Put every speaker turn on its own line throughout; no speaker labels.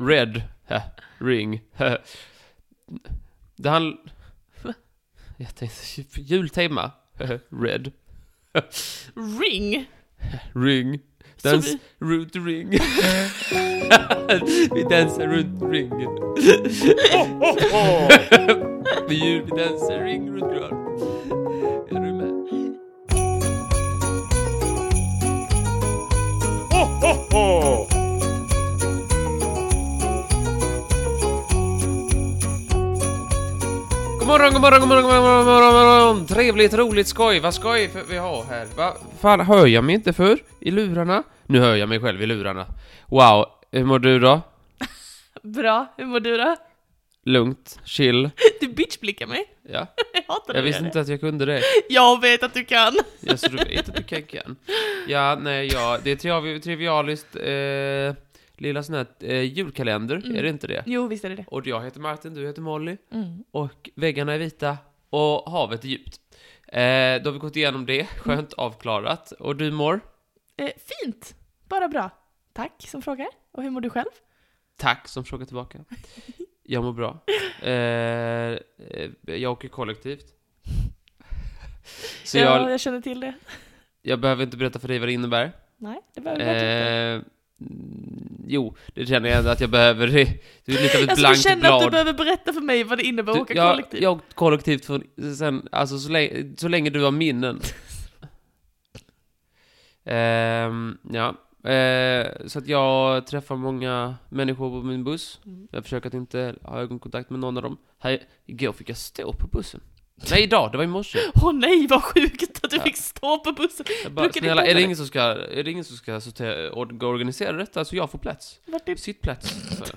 Red heh, ring. heh. Det handlar... Jag tänkte jultema. heh, Red
Ring!
ring.
Så
Dans runt ring. vi dansar runt ring. vi, jul- vi dansar ring runt gran. Är du med? God morgon, god morgon, god morgon, god morgon, god morgon, god morgon. Trevligt, roligt, skoj. Vad skoj för vi har här. Va? Fan, hör jag mig inte för i lurarna? Nu hör jag mig själv i lurarna. Wow, hur mår du då?
Bra, hur mår du då?
Lugnt, chill.
Du bitchblickar mig.
Ja,
Jag hatar när
jag
du
visste
gör
inte att jag kunde det.
det. Jag vet att du kan.
Ja, så du vet att du kan kan. Ja, nej, ja, det är triv- trivialiskt eh, lilla sån här eh, julkalender, är det inte det?
Jo, visst är det det.
Och jag heter Martin, du heter Molly,
Mm.
och väggarna är vita och havet är djupt. Eh, då har vi gått igenom
Mm.
det, skönt avklarat. Och du mår?
Eh, fint! Bara bra. Tack som frågar. Och hur mår du själv?
Tack som frågar tillbaka. Jag mår bra. Eh, eh, jag åker kollektivt. Så
ja,
jag,
jag känner till det.
jag behöver inte berätta för dig vad det innebär.
Nej, det behöver du inte.
Eh, mm, jo, det känner jag ändå att jag behöver. Du är lite av ett
Alltså, du
blankt
känner
blad.
att du behöver berätta för mig vad det innebär att
Du-
åka
jag,
kollektivt.
Jag har åkt kollektivt för, sen, alltså så länge, så länge du har minnen. Ehm, ja. Eh, så att jag träffar många människor på min buss.
Mm.
Jag försöker att inte ha ögonkontakt med någon av dem. Här, igår fick jag stå på bussen. Nej, idag. Det var i morse.
Åh nej, vad sjukt att du
Ja.
fick stå på bussen.
Jag bara,
Brukar ni
snälla,
bo
är det
där?
ingen som ska, är det ingen som ska sortera, or- organisera detta så jag får plats?
Vart är...
Sitt plats. Så. nej.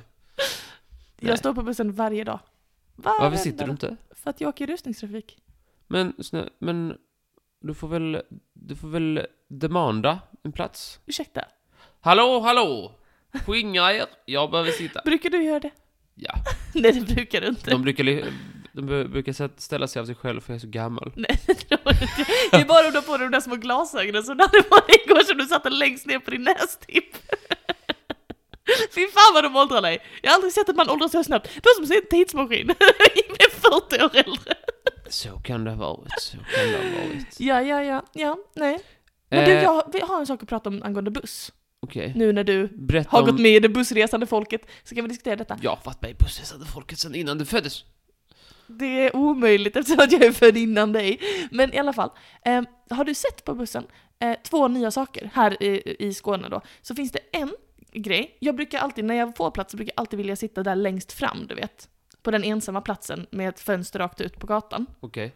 Jag står på bussen varje dag.
Varför
Varenda
sitter du
dag.
inte?
För att jag åker i rusningstrafik.
Men, snä, men du får väl, du får väl demanda en plats?
Ursäkta,
Hallå, hallå! Skingra er, jag behöver sitta.
brukar du göra det?
Ja,
Nej, det brukar du inte.
de brukar, li- de bu- brukar sätt- ställa sig av sig själv för jag är så gammal.
Nej, det tror jag inte. Det är bara om du har på dig de där små glasögonen som du hade på dig igår som du satte längst ner på din nästipp. Fy fan vad de åldrar dig! Jag har aldrig sett att man åldras så snabbt. Det var som att se en tidsmaskin. Jag blev 40 år äldre.
Så kan det ha varit, så kan det ha varit.
Ja, ja, ja, ja, nej. Men du,
Eh,
jag vi har en sak att prata om angående buss.
Okej.
Nu när du
Berätta
har
om...
gått med i det bussresande folket så kan vi diskutera detta.
Jag har varit med i bussresande folket sedan innan du föddes.
Det är omöjligt eftersom att jag är född innan dig. Men i alla fall, eh, har du sett på bussen eh, två nya saker här i, i Skåne då? Så finns det en grej, jag brukar alltid, när jag får plats så brukar jag alltid vilja sitta där längst fram, du vet. På den ensamma platsen med ett fönster rakt ut på gatan.
Okej.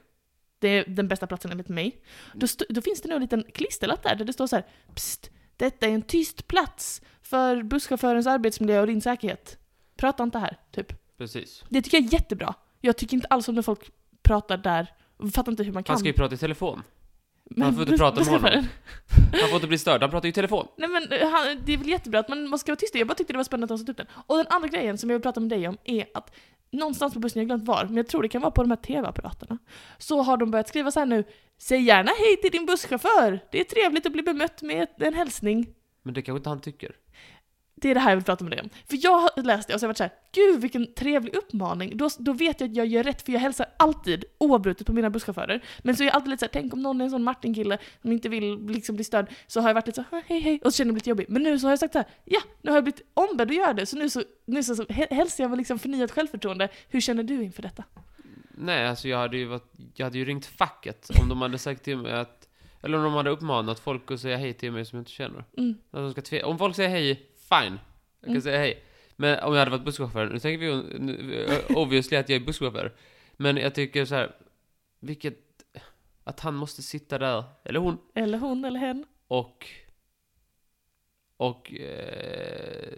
Det är den bästa platsen enligt mig. Då, st- då finns det nog en liten klisterlapp där, där det står så här Psst, detta är en tyst plats för busschaufförens arbetsmiljö och din säkerhet. Prata inte här, typ.
Precis.
Det tycker jag är jättebra. Jag tycker inte alls om när folk pratar där. Jag fattar inte hur man kan.
Han ska ju prata i telefon.
Men-
han får inte prata med honom.
bussföraren.
Han får inte bli störd, han pratar ju i telefon.
Nej men eh, han, det är väl jättebra att man, man ska vara tyst. Jag bara tyckte det var spännande att de satte upp den. Och den andra grejen som jag vill prata med dig om är att någonstans på bussen, jag har glömt var, men jag tror det kan vara på de här TV-apparaterna. Så har de börjat skriva så här nu. Säg gärna hej till din busschaufför. Det är trevligt att bli bemött med en hälsning.
Men det kanske inte han tycker.
Det är det här jag vill prata med dig om. För jag har läst det och så har jag varit så här, gud vilken trevlig uppmaning. Då, då vet jag att jag gör rätt för jag hälsar alltid oavbrutet på mina busschaufförer. Men så är jag alltid lite så här, tänk om någon är en sån Martin-kille som inte vill liksom bli störd. Så har jag varit lite så här, hej hej, och så känner jag mig lite jobbig. Men nu så har jag sagt så här, ja, nu har jag blivit ombedd att göra det. Så nu så, nu så, så hä- hälsar jag med liksom förnyat självförtroende. Hur känner du inför detta?
Nej, alltså jag hade ju varit, jag hade ju ringt facket om de hade sagt till mig att, eller om de hade uppmanat folk att säga hej till mig som jag inte känner.
Mm.
Att de ska tve- om folk säger hej, fine. Jag kan
Mm.
säga hej. Men om jag hade varit busschaufför, nu tänker vi ju- nu, eh, obviously att jag är busschaufför. Men jag tycker så här, vilket, att han måste sitta där, eller hon,
Eller hon eller hen?
och, och eh,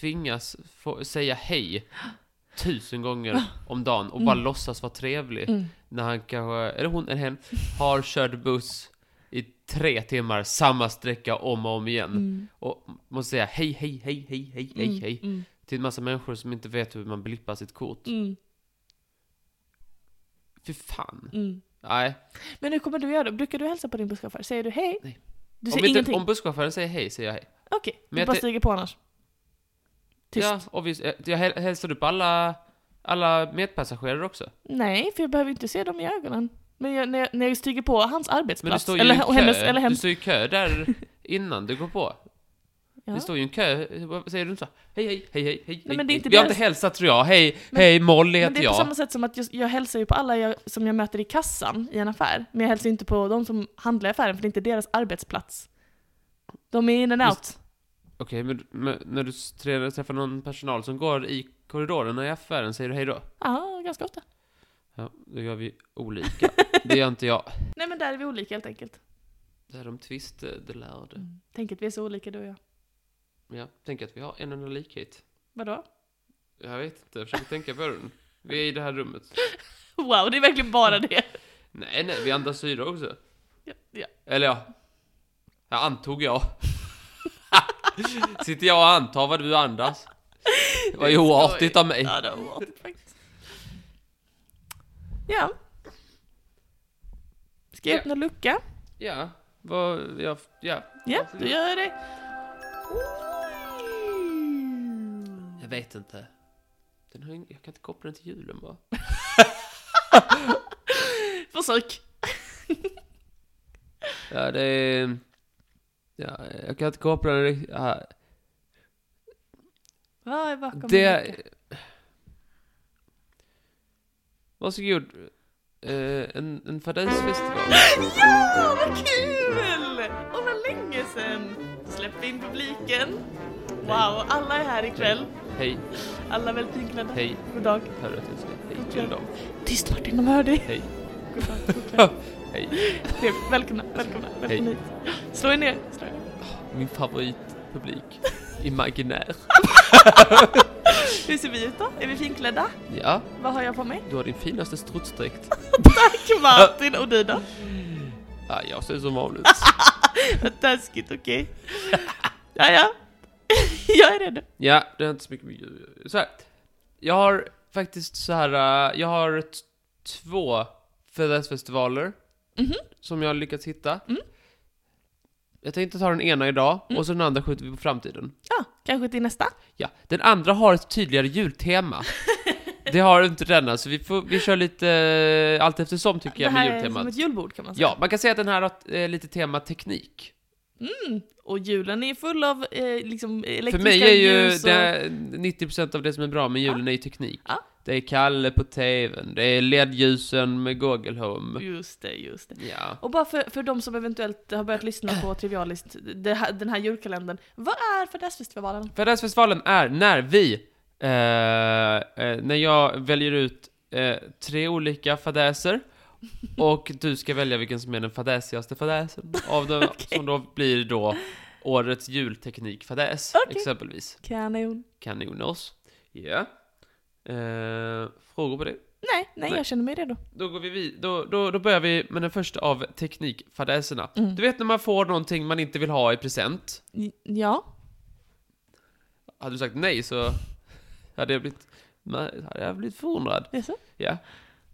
tvingas få, säga hej tusen gånger om dagen och bara
Mm.
låtsas vara trevlig
Mm.
när han kanske, eller hon eller hen, har kört buss i tre timmar samma sträcka om och om igen.
Mm.
Och måste säga hej, hej, hej, hej, hej, hej, hej.
Mm.
Till en massa människor som inte vet hur man blippar sitt kort.
Mm.
Fy fan.
Mm.
Nej.
Men hur kommer du göra? Brukar du hälsa på din busschaufför? Säger du hej?
Nej.
Du
Om,
säger
inte,
ingenting?
om busschauffören säger hej, säger jag hej.
Okej,
Men
du
jag
bara
tän-
stiger på annars. tyst.
Ja, och vi, eh, jag häl- hälsar upp alla, alla medpassagerare också.
Nej, för jag behöver inte se dem i ögonen. Men jag, när, jag, när jag stiger på hans
Men du
arbetsplats,
står ju i
eller,
kö.
och hennes, eller
Du
hennes...
står ju i kö där innan du går på.
Ja.
Det står ju en kö. Vad säger du inte så? Hej, hej, hej, hej, hej. hej,
men det är
hej.
inte
Vi har
deras-
inte hälsat tror jag. Hej,
Men-
hej, Molly
Men det
heter
är på
jag.
samma sätt som att jag, jag hälsar ju på alla jag, som jag möter i kassan i en affär, men jag hälsar ju inte på de som handlar i affären, för det är inte deras arbetsplats. De är in and out.
Just- Okej, men, men när du s- trä- träffar någon personal som går i korridoren och i affären, säger du hej då?
Ja, ganska ofta.
Ja, då gör vi olika. Det gör inte jag.
Nej men där är vi olika helt enkelt.
Det är de tviste, det lärde.
Mm. Tänk att vi är så olika du och jag.
Men jag tänker att vi har en enda likhet.
Vadå?
Jag vet inte, jag försöker tänka på den. Vi är i det här rummet.
Wow, det är verkligen bara
Mm.
det.
Nej, nej, vi andas syre också.
Ja, ja.
Eller ja, jag antog jag. Sitter jag och antar vad du andas? Det var ju oartigt av mig.
Ja, det var oartigt faktiskt. Ja. Ska jag
Ja.
öppna lucka?
Ja, vad, ja, ja.
Ja, då gör jag det.
Jag vet inte. Den har, ing- jag kan inte koppla den till julen bara.
Försök.
Ja, det är... Ja, jag kan inte koppla den riktigt. Ja,
Vad är bakom min
det...
lucka?
Varsågod. Eh, en, en fadäsfestival.
Ja, vad kul! Och vad länge sen. Släpp in publiken. Wow, alla är här ikväll.
Hej,
Alla är väldigt finklädda.
hej,
God dag.
herre tusen. Hej till dem.
Tyst Martin, de hör dig.
Hej,
God dag, god kväll.
hej.
Trevligt. Välkomna, välkomna, välkomna hit. Slå er ner, slå er ner.
Min favoritpublik. Imaginär.
Hur ser vi ut då? Är vi finklädda?
Ja,
Vad har jag på mig?
du har din finaste strutsdräkt.
Tack Martin! Och du då?
Ja, jag ser som vanligt.
Vad taskigt, okej. Ja, ja. Jag är redo.
Ja, det är inte så mycket med djur. Så här. Jag har faktiskt så här. äh, Jag har t- två födelsedagsfestivaler
Mhm.
som jag har lyckats hitta.
Mm.
Jag tänkte ta den ena idag
Mm.
och så den andra skjuter vi på framtiden.
Ja, kanske till nästa.
Ja, den andra har ett tydligare jultema. det har inte denna, så vi, får, vi kör lite äh, allt eftersom tycker
Det
jag med
här är
jultemat.
som ett julbord kan man säga.
Ja, man kan säga att den här har ett, eh, lite tema teknik.
Mm. Och julen är full av eh, liksom elektriska
För mig är ju
ljus och...
det, 90% av det som är bra med julen är ju teknik.
uh, Ja.
Det är Kalle på TVn, det är LED-ljusen med Google Home.
Just det, just det.
Ja.
Och bara för, för de som eventuellt har börjat lyssna på Trivialist, det här, den här julkalendern. Vad är Fadäsfestivalen?
Födelsedagsfestivalen är när vi, eh, eh, när jag väljer ut eh, tre olika fadäser och du ska välja vilken som är den fadäsigaste fadäsen av dem, som då blir då årets julteknikfadäs,
Okej.
exempelvis.
Kanon.
Kanoners. Ja. Eh, frågor på det?
Nej, nej,
Nej.
jag känner mig redo.
Då, går vi vid, då, då, då börjar vi med den första av teknikfadäserna.
Mm.
Du vet när man får någonting man inte vill ha i present?
Ja.
Hade du sagt nej så hade jag blivit, nej, hade jag blivit förundrad.
Jaså?
Ja.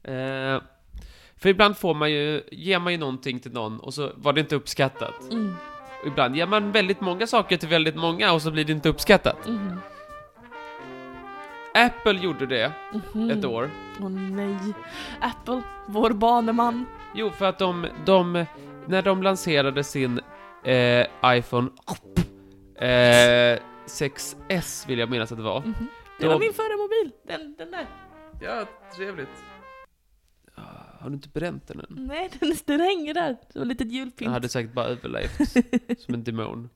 Eh, för ibland får man ju, ger man ju någonting till någon och så var det inte uppskattat.
Mm.
Och ibland ger man väldigt många saker till väldigt många och så blir det inte uppskattat.
Mm.
Apple gjorde det
Mhm.
ett år.
Åh nej. Apple, vår baneman.
Jo, för att de, de när de lanserade sin eh, iPhone eh, 6S vill jag minnas att det var.
Mhm. Det
Då-
var min förra mobil. Den, den där.
Ja, trevligt. Ah, Har du inte bränt den än?
Nej, den, den hänger där. Som ett litet
Den
julpynt.
hade säkert bara överlevt som en demon.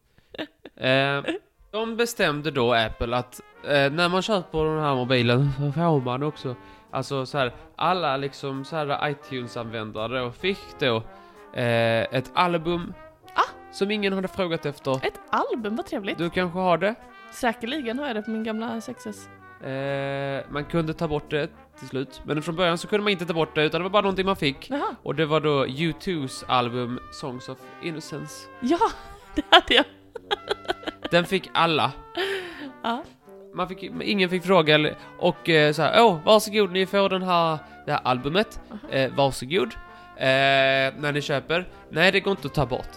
Eh, de bestämde då, Apple, att eh, när man köper den här mobilen så får man också, alltså så här, alla liksom så här iTunes-användare och fick då eh, ett album som ingen hade frågat efter.
Ett album, vad trevligt.
Du kanske har det?
Säkerligen har jag det på min gamla 6S.
Eh, man kunde ta bort det till slut, men från början så kunde man inte ta bort det utan det var bara någonting man fick.
Jaha.
Och det var då U2s album Songs of Innocence.
Ja, det hade jag.
Den fick alla.
Ja.
Man fick, ingen fick fråga eller- och eh, så här, åh varsågod ni får den här, det här albumet, eh, varsågod. Eh, när ni köper. Nej det går inte att ta bort.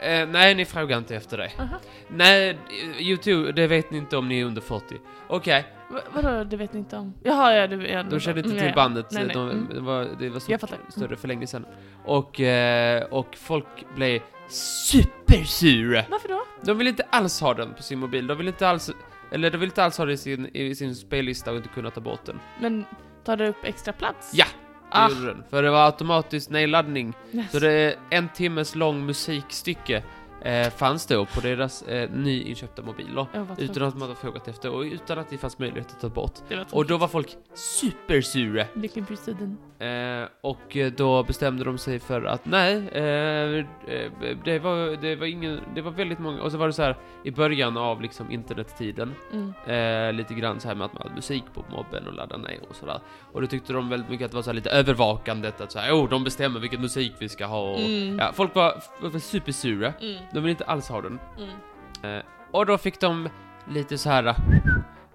Eh, nej, ni frågar inte efter det.
Aha.
Nej, eh, YouTube, det vet ni inte om ni är under 40. Okej,
Va- Vadå, det vet ni inte om? Jaha, ja, du... Ja,
de kände inte
mm,
till
ja,
bandet.
Nej, nej.
De,
Mm.
det var, det var så,
Jag fattar. Mm.
större för länge sedan. Och, eh, och folk blev supersura.
Ja. Varför då?
De vill inte alls ha den på sin mobil. De vill inte alls... Eller de vill inte alls ha det i sin, i sin spellista och inte kunna ta bort den.
Men tar det upp extra plats?
Ja,
Ah,
Det gjorde den. För det var automatisk nedladdning.
yes.
Så det är en timmes lång musikstycke eh, fanns då på deras eh, nyinköpta mobiler.
Ja, vad
Utan
tråkigt.
att man hade frågat efter och utan att det fanns möjlighet att ta bort.
Det var
Och
tråkigt.
då var folk supersura.
Lycklig på tiden.
Eh, och eh, då bestämde de sig för att nej, eh, eh, det, var, det var ingen, det var väldigt många, och så var det så här i början av liksom internettiden,
Mm.
eh, lite grann så här med att man hade musik på mobben och laddade ner och sådär. Och då tyckte de väldigt mycket att det var så här lite övervakandet, att så här, oh, de bestämmer vilken musik vi ska ha och,
Mm.
ja, folk var, var supersura,
Mm.
de ville inte alls ha den.
Mm.
Och då fick de lite så här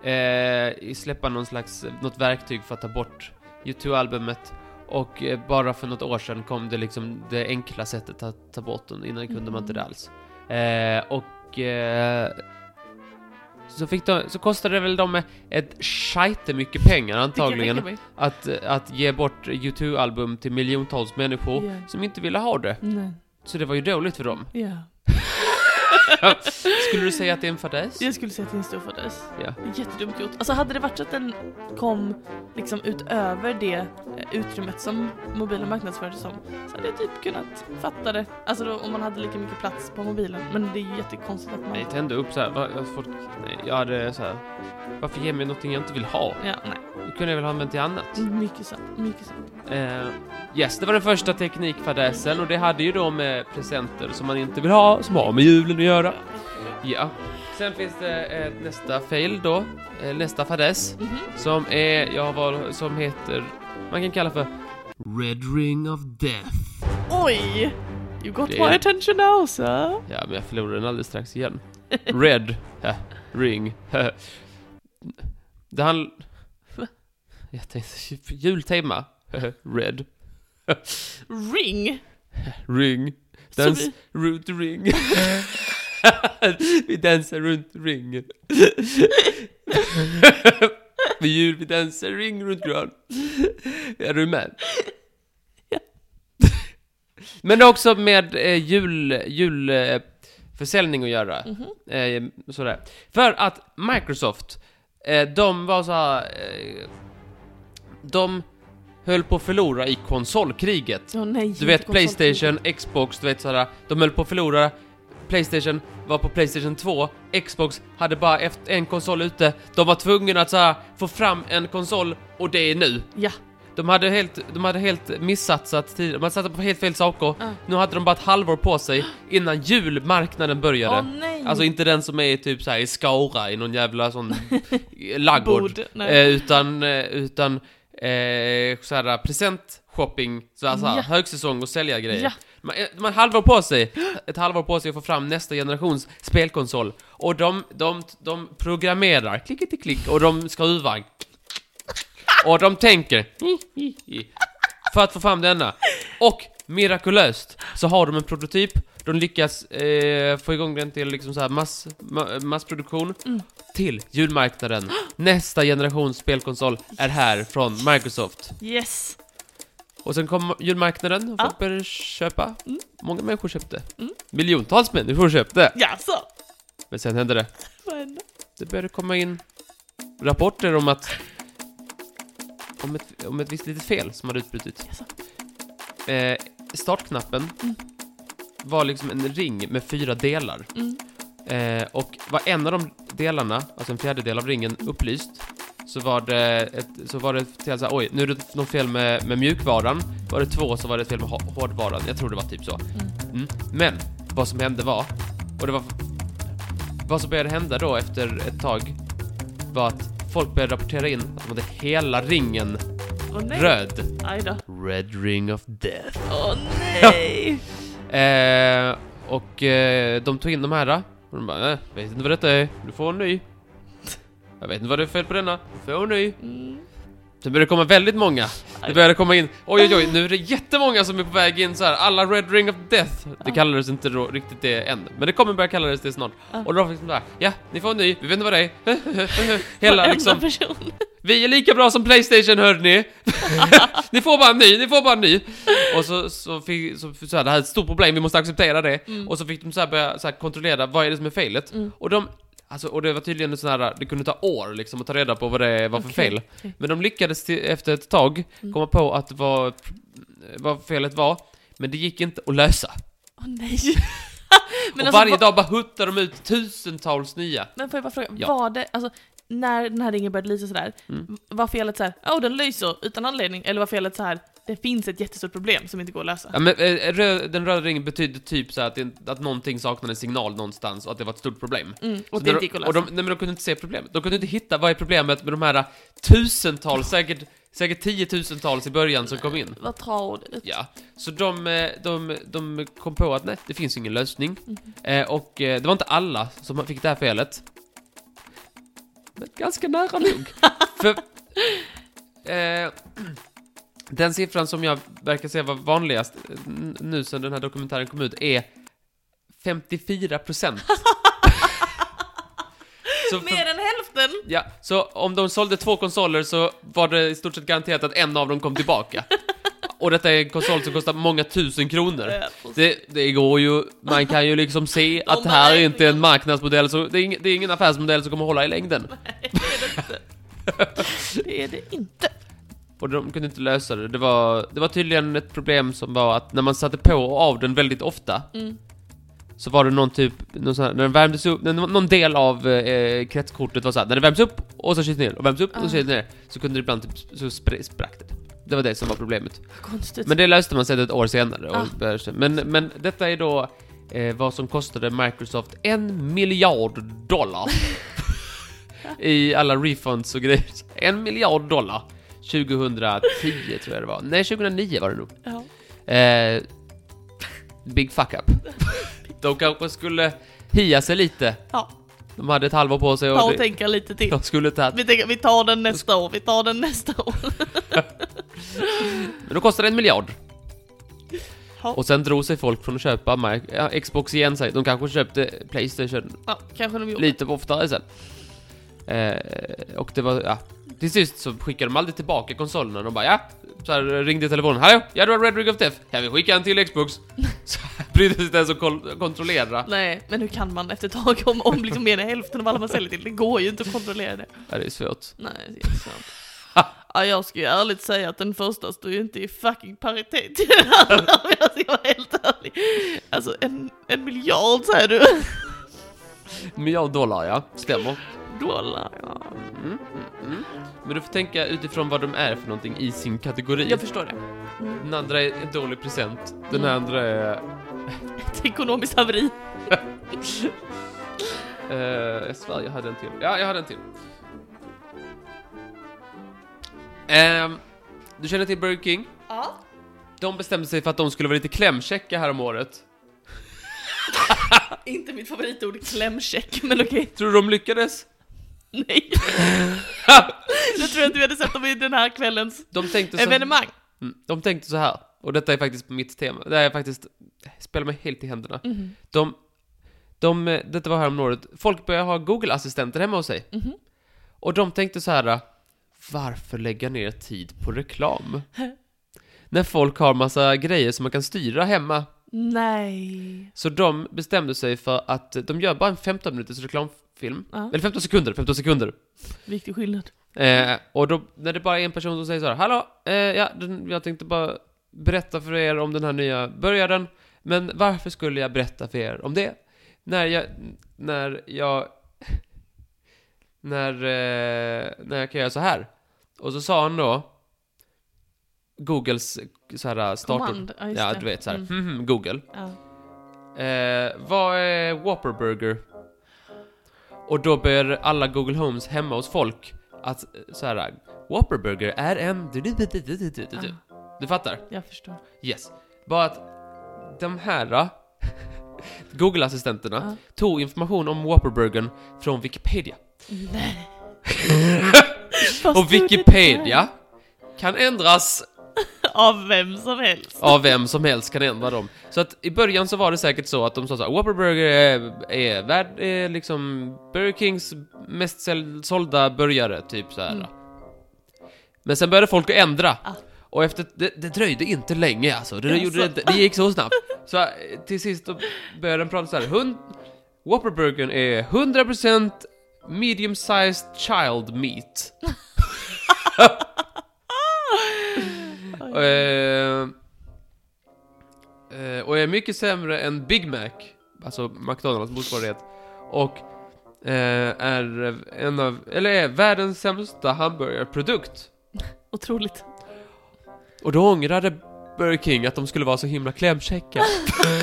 eh, släppa någon slags, något verktyg för att ta bort U2-albumet. Och eh, bara för något år sedan kom det liksom det enkla sättet att ta bort den, innan kunde man inte det alls. Eh, och eh, så, fick de, så kostade det väl dem ett skite mycket pengar antagligen
Vilken äckel
att, att ge bort U2-album till miljontals människor
Ja.
som inte ville ha det.
vi- Nej.
Så det var ju dåligt för dem.
Ja.
Skulle du säga att det är en fadäs?
Jag skulle säga att det är en stor fadäs.
Ja.
Jättedumt gjort. Alltså hade det varit så att den kom liksom utöver det eh, utrymmet som mobilen marknadsfördes som så hade jag typ kunnat fatta det. Alltså då, om man hade lika mycket plats på mobilen. Men det är ju jättekonstigt att man...
Nej, tände upp så här. Va- va- Folk, nej, jag hade så här. Varför ge mig någonting jag inte vill ha?
Ja, nej.
Det kunde jag väl ha använt till annat.
Mycket sant. Mycket sant.
Eh, yes, det var den första teknikfadäsen och det hade ju då med presenter som man inte vill ha, som har med julen att göra. Ja. Sen finns det eh, nästa fail då, eh, nästa fadäs,
Mhm.
som är, jag har valt, som heter, man kan kalla för Red Ring of Death.
Oj! You got
Det-
my attention now, sir.
Ja, men jag förlorade den alldeles strax igen. Red. Hä. Ring. Hä. Det handl... Jag tänkte jultema. Red.
Ring!
Ring.
Så
Dans
vi-
runt ring. vi dansar runt ringen. Vid jul vi dansar ring runt gran. Är du med?
Ja.
Men det har också med eh, jul, jul eh, försäljning att göra.
Mhm.
Eh, sådär. För att Microsoft, eh, de var så här, eh, De höll på att förlora i konsolkriget.
Åh, nej,
Du vet
inte konstigt.
Playstation, Xbox, du vet sådär, de höll på att förlora. Playstation var på Playstation 2, Xbox hade bara eft- en konsol ute. De var tvungna att såhär, få fram en konsol och det är nu.
Ja.
De hade helt, de hade helt missatsat tid, de hade satsat på helt fel saker.
Ah.
Nu hade de bara ett halvår på sig innan julmarknaden började.
Åh nej!
Alltså inte den som är typ såhär i Skara i någon jävla sån laggård.
Bod. Nej.
Eh, utan eh, utan eh, såhär, presentshopping, såhär, såhär,
Ja.
högsäsong och sälja grejer.
Ja.
Man, eh, man har halvår på sig, ett halvår på sig att få fram nästa generations spelkonsol. Och de, de, de programmerar, klick, klick, och de skruvar. Och de tänker. För att få fram denna. Och mirakulöst så har de en prototyp, de lyckas eh, få igång den till liksom så här mass, ma, massproduktion till julmarknaden. Nästa generations spelkonsol är här från Microsoft.
Yes!
Och sen kom julmarknaden och
Ja.
folk började köpa. Många människor köpte.
Mm.
Miljontals människor köpte.
Ja, så.
Men sen hände det.
Vad hände?
Det började komma in rapporter om att om ett, om ett visst litet fel som hade utbrutit.
Jaså?
Eh, startknappen
Mm.
var liksom en ring med fyra delar.
Mm.
Eh, och var en av de delarna, alltså en fjärdedel av ringen, upplyst så var det, ett, så var det till så här, oj, nu är det något fel med, med mjukvaran. Var det två så var det ett fel med hå- hårdvaran. Jag tror det var typ så. Mm. Men vad som hände var, och det var vad som började hända då efter ett tag var att folk började rapportera in att de hade hela ringen
Åh nej!
röd.
Aj då.
Red ring of death.
Åh nej!
Eh, och eh, de tog in de här och de bara, "Eh, vet inte vad detta är, du får en ny. Jag vet inte vad det är fel på denna, du får en ny.
Mm.
Det börjar komma väldigt många. Det börjar komma in, oj oj oj, nu är det jättemånga som är på väg in så här. alla Red Ring of Death. Det
Ja.
kallades inte då, riktigt det än, men det kommer börja kallades det snart.
Ja.
Och då fick de där, ja, ni får en ny, vi vet inte vad det är. Hela
Varenda
liksom,
person.
vi är lika bra som Playstation hörni! ni får bara en ny, ni får bara en ny! Och så, så fick, så, så här, det här är ett stort problem, vi måste acceptera det. Och så fick de så här börja så här, kontrollera, vad är det som är felet?
Mm.
Och de, alltså, och det var tydligen en sån här, det kunde ta år liksom att ta reda på vad det var för
Okej.
fel.
Okej. Mm.
Men de lyckades till, efter ett tag komma på att vad, vad felet var, men det gick inte att lösa.
Åh nej. men
och
alltså,
varje
vad-
dag bara huttar de ut tusentals nya.
Men får jag bara fråga,
Ja.
var det, alltså när den här ringen började lysa sådär,
Mm.
var felet såhär, åh den lyser utan anledning, eller var felet så här det finns ett jättestort problem som inte går att lösa?
Ja, men, eh, rö- den röda ringen betydde typ så här att, det, att någonting saknade signal någonstans och att det var ett stort problem.
Mm,
Så när
och det inte
de-
gick att lösa.
och de, nej, men de kunde inte se problemet. De kunde inte hitta vad är problemet med de här tusentals, säkert, säkert tiotusentals i början som kom in.
Vad tradigt.
Ja, så de, eh, de, de kom på att nej, det finns ingen lösning. Eh, och eh, det var inte alla som fick det här felet. Men ganska nära nog. För, eh, den siffran som jag verkar se var vanligast eh, n- nu sen den här dokumentären kom ut är 54 procent. så, för-
Mer än hälften!
ja, så om de sålde två konsoler så var det i stort sett garanterat att en av dem kom tillbaka. Och detta är en konsol som kostar många tusen kronor.
Eh,
Det, det går ju, man kan ju liksom se att det här är inte en marknadsmodell, så det, är ing, det är ingen affärsmodell som kommer hålla i längden.
Det är det inte.
Och de kunde inte lösa det. Det var, det var tydligen ett problem som var att när man satte på och av den väldigt ofta,
Mm.
så var det någon typ, någon sån här, när den värmdes upp, när någon del av eh, kretskortet var såhär, när det värms upp och så kyls ner, och värms upp och så kyls ner, så kunde det ibland typ, så spr- sprack det. Det var det som var problemet.
Konstigt.
Men det löste man sedan ett år senare. Och
Ah.
började- men, men detta är då eh, vad som kostade Microsoft en miljard dollar. I alla refunds och grejer. En miljard dollar. 2010 tror jag det var. Nej, 2009 var det nog.
ja.
Eh, big fuck up. De kanske skulle hia sig lite.
Ja.
De hade ett halvår på sig
Ta
och
och
det,
tänka lite till.
de skulle tagit.
Vi, tänker, vi tar den nästa år, vi tar den nästa år.
Men då kostade det en miljard.
Ja.
Och sen drog sig folk från att köpa Mic- ja, Xbox igen. säg. De kanske köpte Playstation
Ja, kanske de gjorde.
lite oftare sen. Eh, och det var, ja. Till sist så skickade de aldrig tillbaka konsolerna. De bara, ja. Så här ringde telefonen. Hallå? Ja, det var Red Ring of Death. Kan vi skicka en till Xbox? Så här brydde sig inte ens att kol- kontrollera.
Nej, men hur kan man efter ett tag om, om liksom mer än hälften av alla man säljer till? Det går ju inte att kontrollera det.
Ja, det är svårt.
Nej, det är inte sant. Ja, jag ska ju ärligt säga att den första står ju inte i fucking paritet till den andra om jag ska vara helt ärlig. Alltså en, en miljard säger du?
Miljard dollar, ja. Stämmer.
Dollar, ja.
Mm, mm, mm. Men du får tänka utifrån vad de är för någonting i sin kategori.
Jag förstår det.
Den andra är en dålig present. Den
Mm.
andra är...
Ett ekonomiskt haveri.
Eh, jag svär, jag hade en till. Ja, jag hade en till. Ehm, du känner till Burger King?
Ja.
De bestämde sig för att de skulle vara lite klämkäcka här om året.
Inte mitt favoritord klämcheck, men okej.
Tror du de lyckades?
Nej. Jag tror att vi hade sett dem i den här kvällens
De tänkte så,
evenemang.
Mm, de tänkte så här, och detta är faktiskt mitt tema. Det här är faktiskt... Spelar mig helt i händerna.
Mhm.
De, de, eh, detta var häromåret, folk började ha Google-assistenter hemma hos sig.
Mhm.
Och de tänkte så här, varför lägga ner tid på reklam? När folk har massa grejer som man kan styra hemma.
Nej.
Så de bestämde sig för att de gör bara en 15 minuters reklamfilm.
Ja.
Eller 15 sekunder, 15 sekunder.
Viktig skillnad.
Eh, och då, när det bara är en person som säger så här, hallå, eh, ja, den, jag tänkte bara berätta för er om den här nya början, men varför skulle jag berätta för er om det? När jag, när jag, när, eh, när jag kan göra så här. Och så sa han då, Googles så här startord.
Command. Ja, just
Ja,
det.
du vet så här,
Mm.
"Mhm, Google.
Ja.
Eh, vad är Whopper Burger? Och då börjar alla Google Homes hemma hos folk att eh, så här, Whopper Burger är en... Du, du, du, du, du, du, du, du.
Ah.
du fattar?
Jag förstår.
Yes. Bara att de här eh, Google-assistenterna
Ja.
tog information om Whopper Burgern från Wikipedia.
Nej.
Och Wikipedia kan ändras
Av vem som helst.
av vem som helst kan ändra dem. Så att i början så var det säkert så att de sa såhär, Whopper Burger är, är, värd, är liksom Burger Kings mest säl- sålda burgare, typ så här. Men sen började folk att ändra.
Ah.
Och efter, det, det dröjde inte länge alltså, det,
Jaså.
gjorde, det, det gick så snabbt. Så eh, till sist då började de prata såhär, hund, Whopper Burgern är 100% medium sized child meat. Eh, eh, och är mycket sämre än Big Mac, alltså McDonalds motsvarighet. Och eh, är en av, eller är världens sämsta hamburgerprodukt.
Otroligt.
Och då ångrade Burger King att de skulle vara så himla klämkäcka.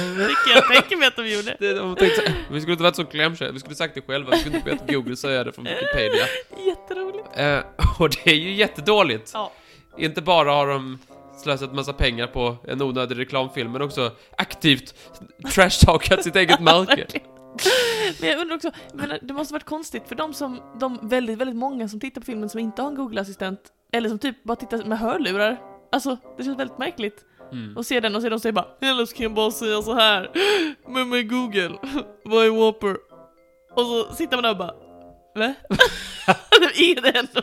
Vilket jag tänker mig att de gjorde.
Det- de tänkte så här, vi skulle inte varit så klämkäcka, vi skulle sagt det själva, vi skulle inte bett Google säga det från Wikipedia.
Jätteroligt.
Eh, och det är ju jättedåligt.
Ja.
Inte bara har de slösat massa pengar på en onödig reklamfilm, men också aktivt trashtalkat sitt eget märke.
Verkligen. Men jag undrar också, jag menar, det måste varit konstigt för de som, de väldigt, väldigt många som tittar på filmen som inte har en Google-assistent, eller som typ bara tittar med hörlurar. Alltså, det känns väldigt märkligt.
Mm.
Och ser den och ser de säger bara Eller så kan jag bara säga så här Men med Google, vad är Whopper? Och så sitter man där och bara Va? det är ingen ändå.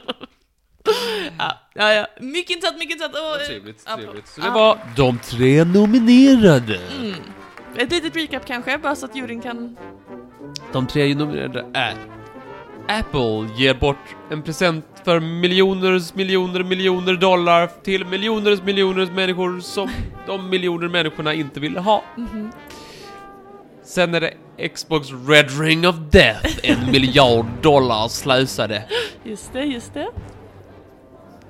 ja, ja, ja. Mycket intressant, mycket intressant. Och, eh,
Trevligt,
apropå-
trevligt. Så det var de tre nominerade.
Mm. Ett litet recap kanske, bara så att juryn kan...
De tre nominerade är Apple ger bort en present för miljoners miljoner miljoner dollar till miljoners miljoners människor som de miljoner människorna inte ville ha.
Mhm.
Sen är det Xbox Red Ring of Death, en miljard dollar slösade.
Just det, just det.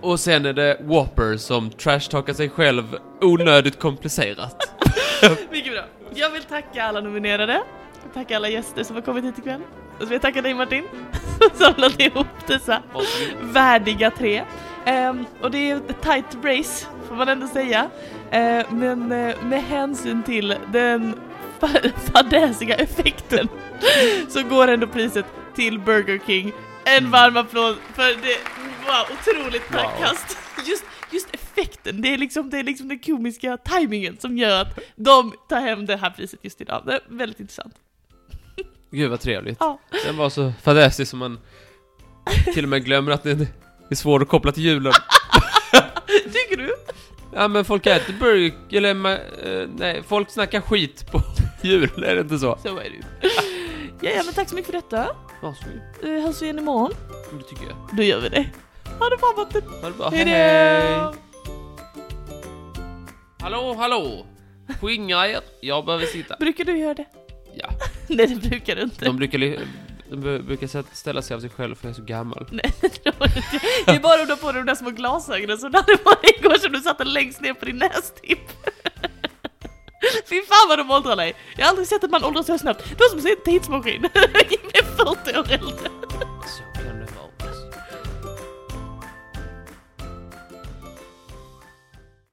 Och sen är det Whopper som trashtalkar sig själv onödigt komplicerat.
Mycket bra. Jag vill tacka alla nominerade. Tacka alla gäster som har kommit hit ikväll. Och så vill jag tacka dig Martin, som samlade ihop dessa
Varsågod.
värdiga tre. Ehm, och det är ett tight race, får man ändå säga. Ehm, men eh, med hänsyn till den fa- fadäsiga effekten så går ändå priset till Burger King. En varm applåd för det, wow, otroligt
Wow.
tackkast. Just, just effekten, det är, liksom, det är liksom den komiska tajmingen som gör att de tar hem det här priset just idag. Det är väldigt intressant.
Gud vad trevligt.
Ja.
Den var så fadäsig som man till och med glömmer att den är svår att koppla till julen.
Tycker du?
Ja men folk äter burger, eller ma- eh, nej, folk snackar skit på jul, är det inte så?
Så är det ju. Ja, ja, men tack så mycket för detta.
Varsågod.
Eh, Hörs vi igen imorgon.
Det tycker jag.
Då gör vi det. Ha det bra Martin.
Ha det bra, hej
Hej
hej!
då!
Hallå, hallå! Skingra er, jag behöver sitta.
Brukar du göra det?
Ja.
Nej det brukar du inte.
De brukar, li- de bu- brukar sätta- ställa sig av sig själv för jag är så gammal.
Nej, det tror jag inte. Det är bara om du har på dig de där små glasögonen som du hade på dig igår som du satte längst ner på din nästipp. Fy fan vad de åldrar dig! Jag har aldrig sett att man åldras så snabbt. De som ser tidsmaskin, de är 40 år äldre.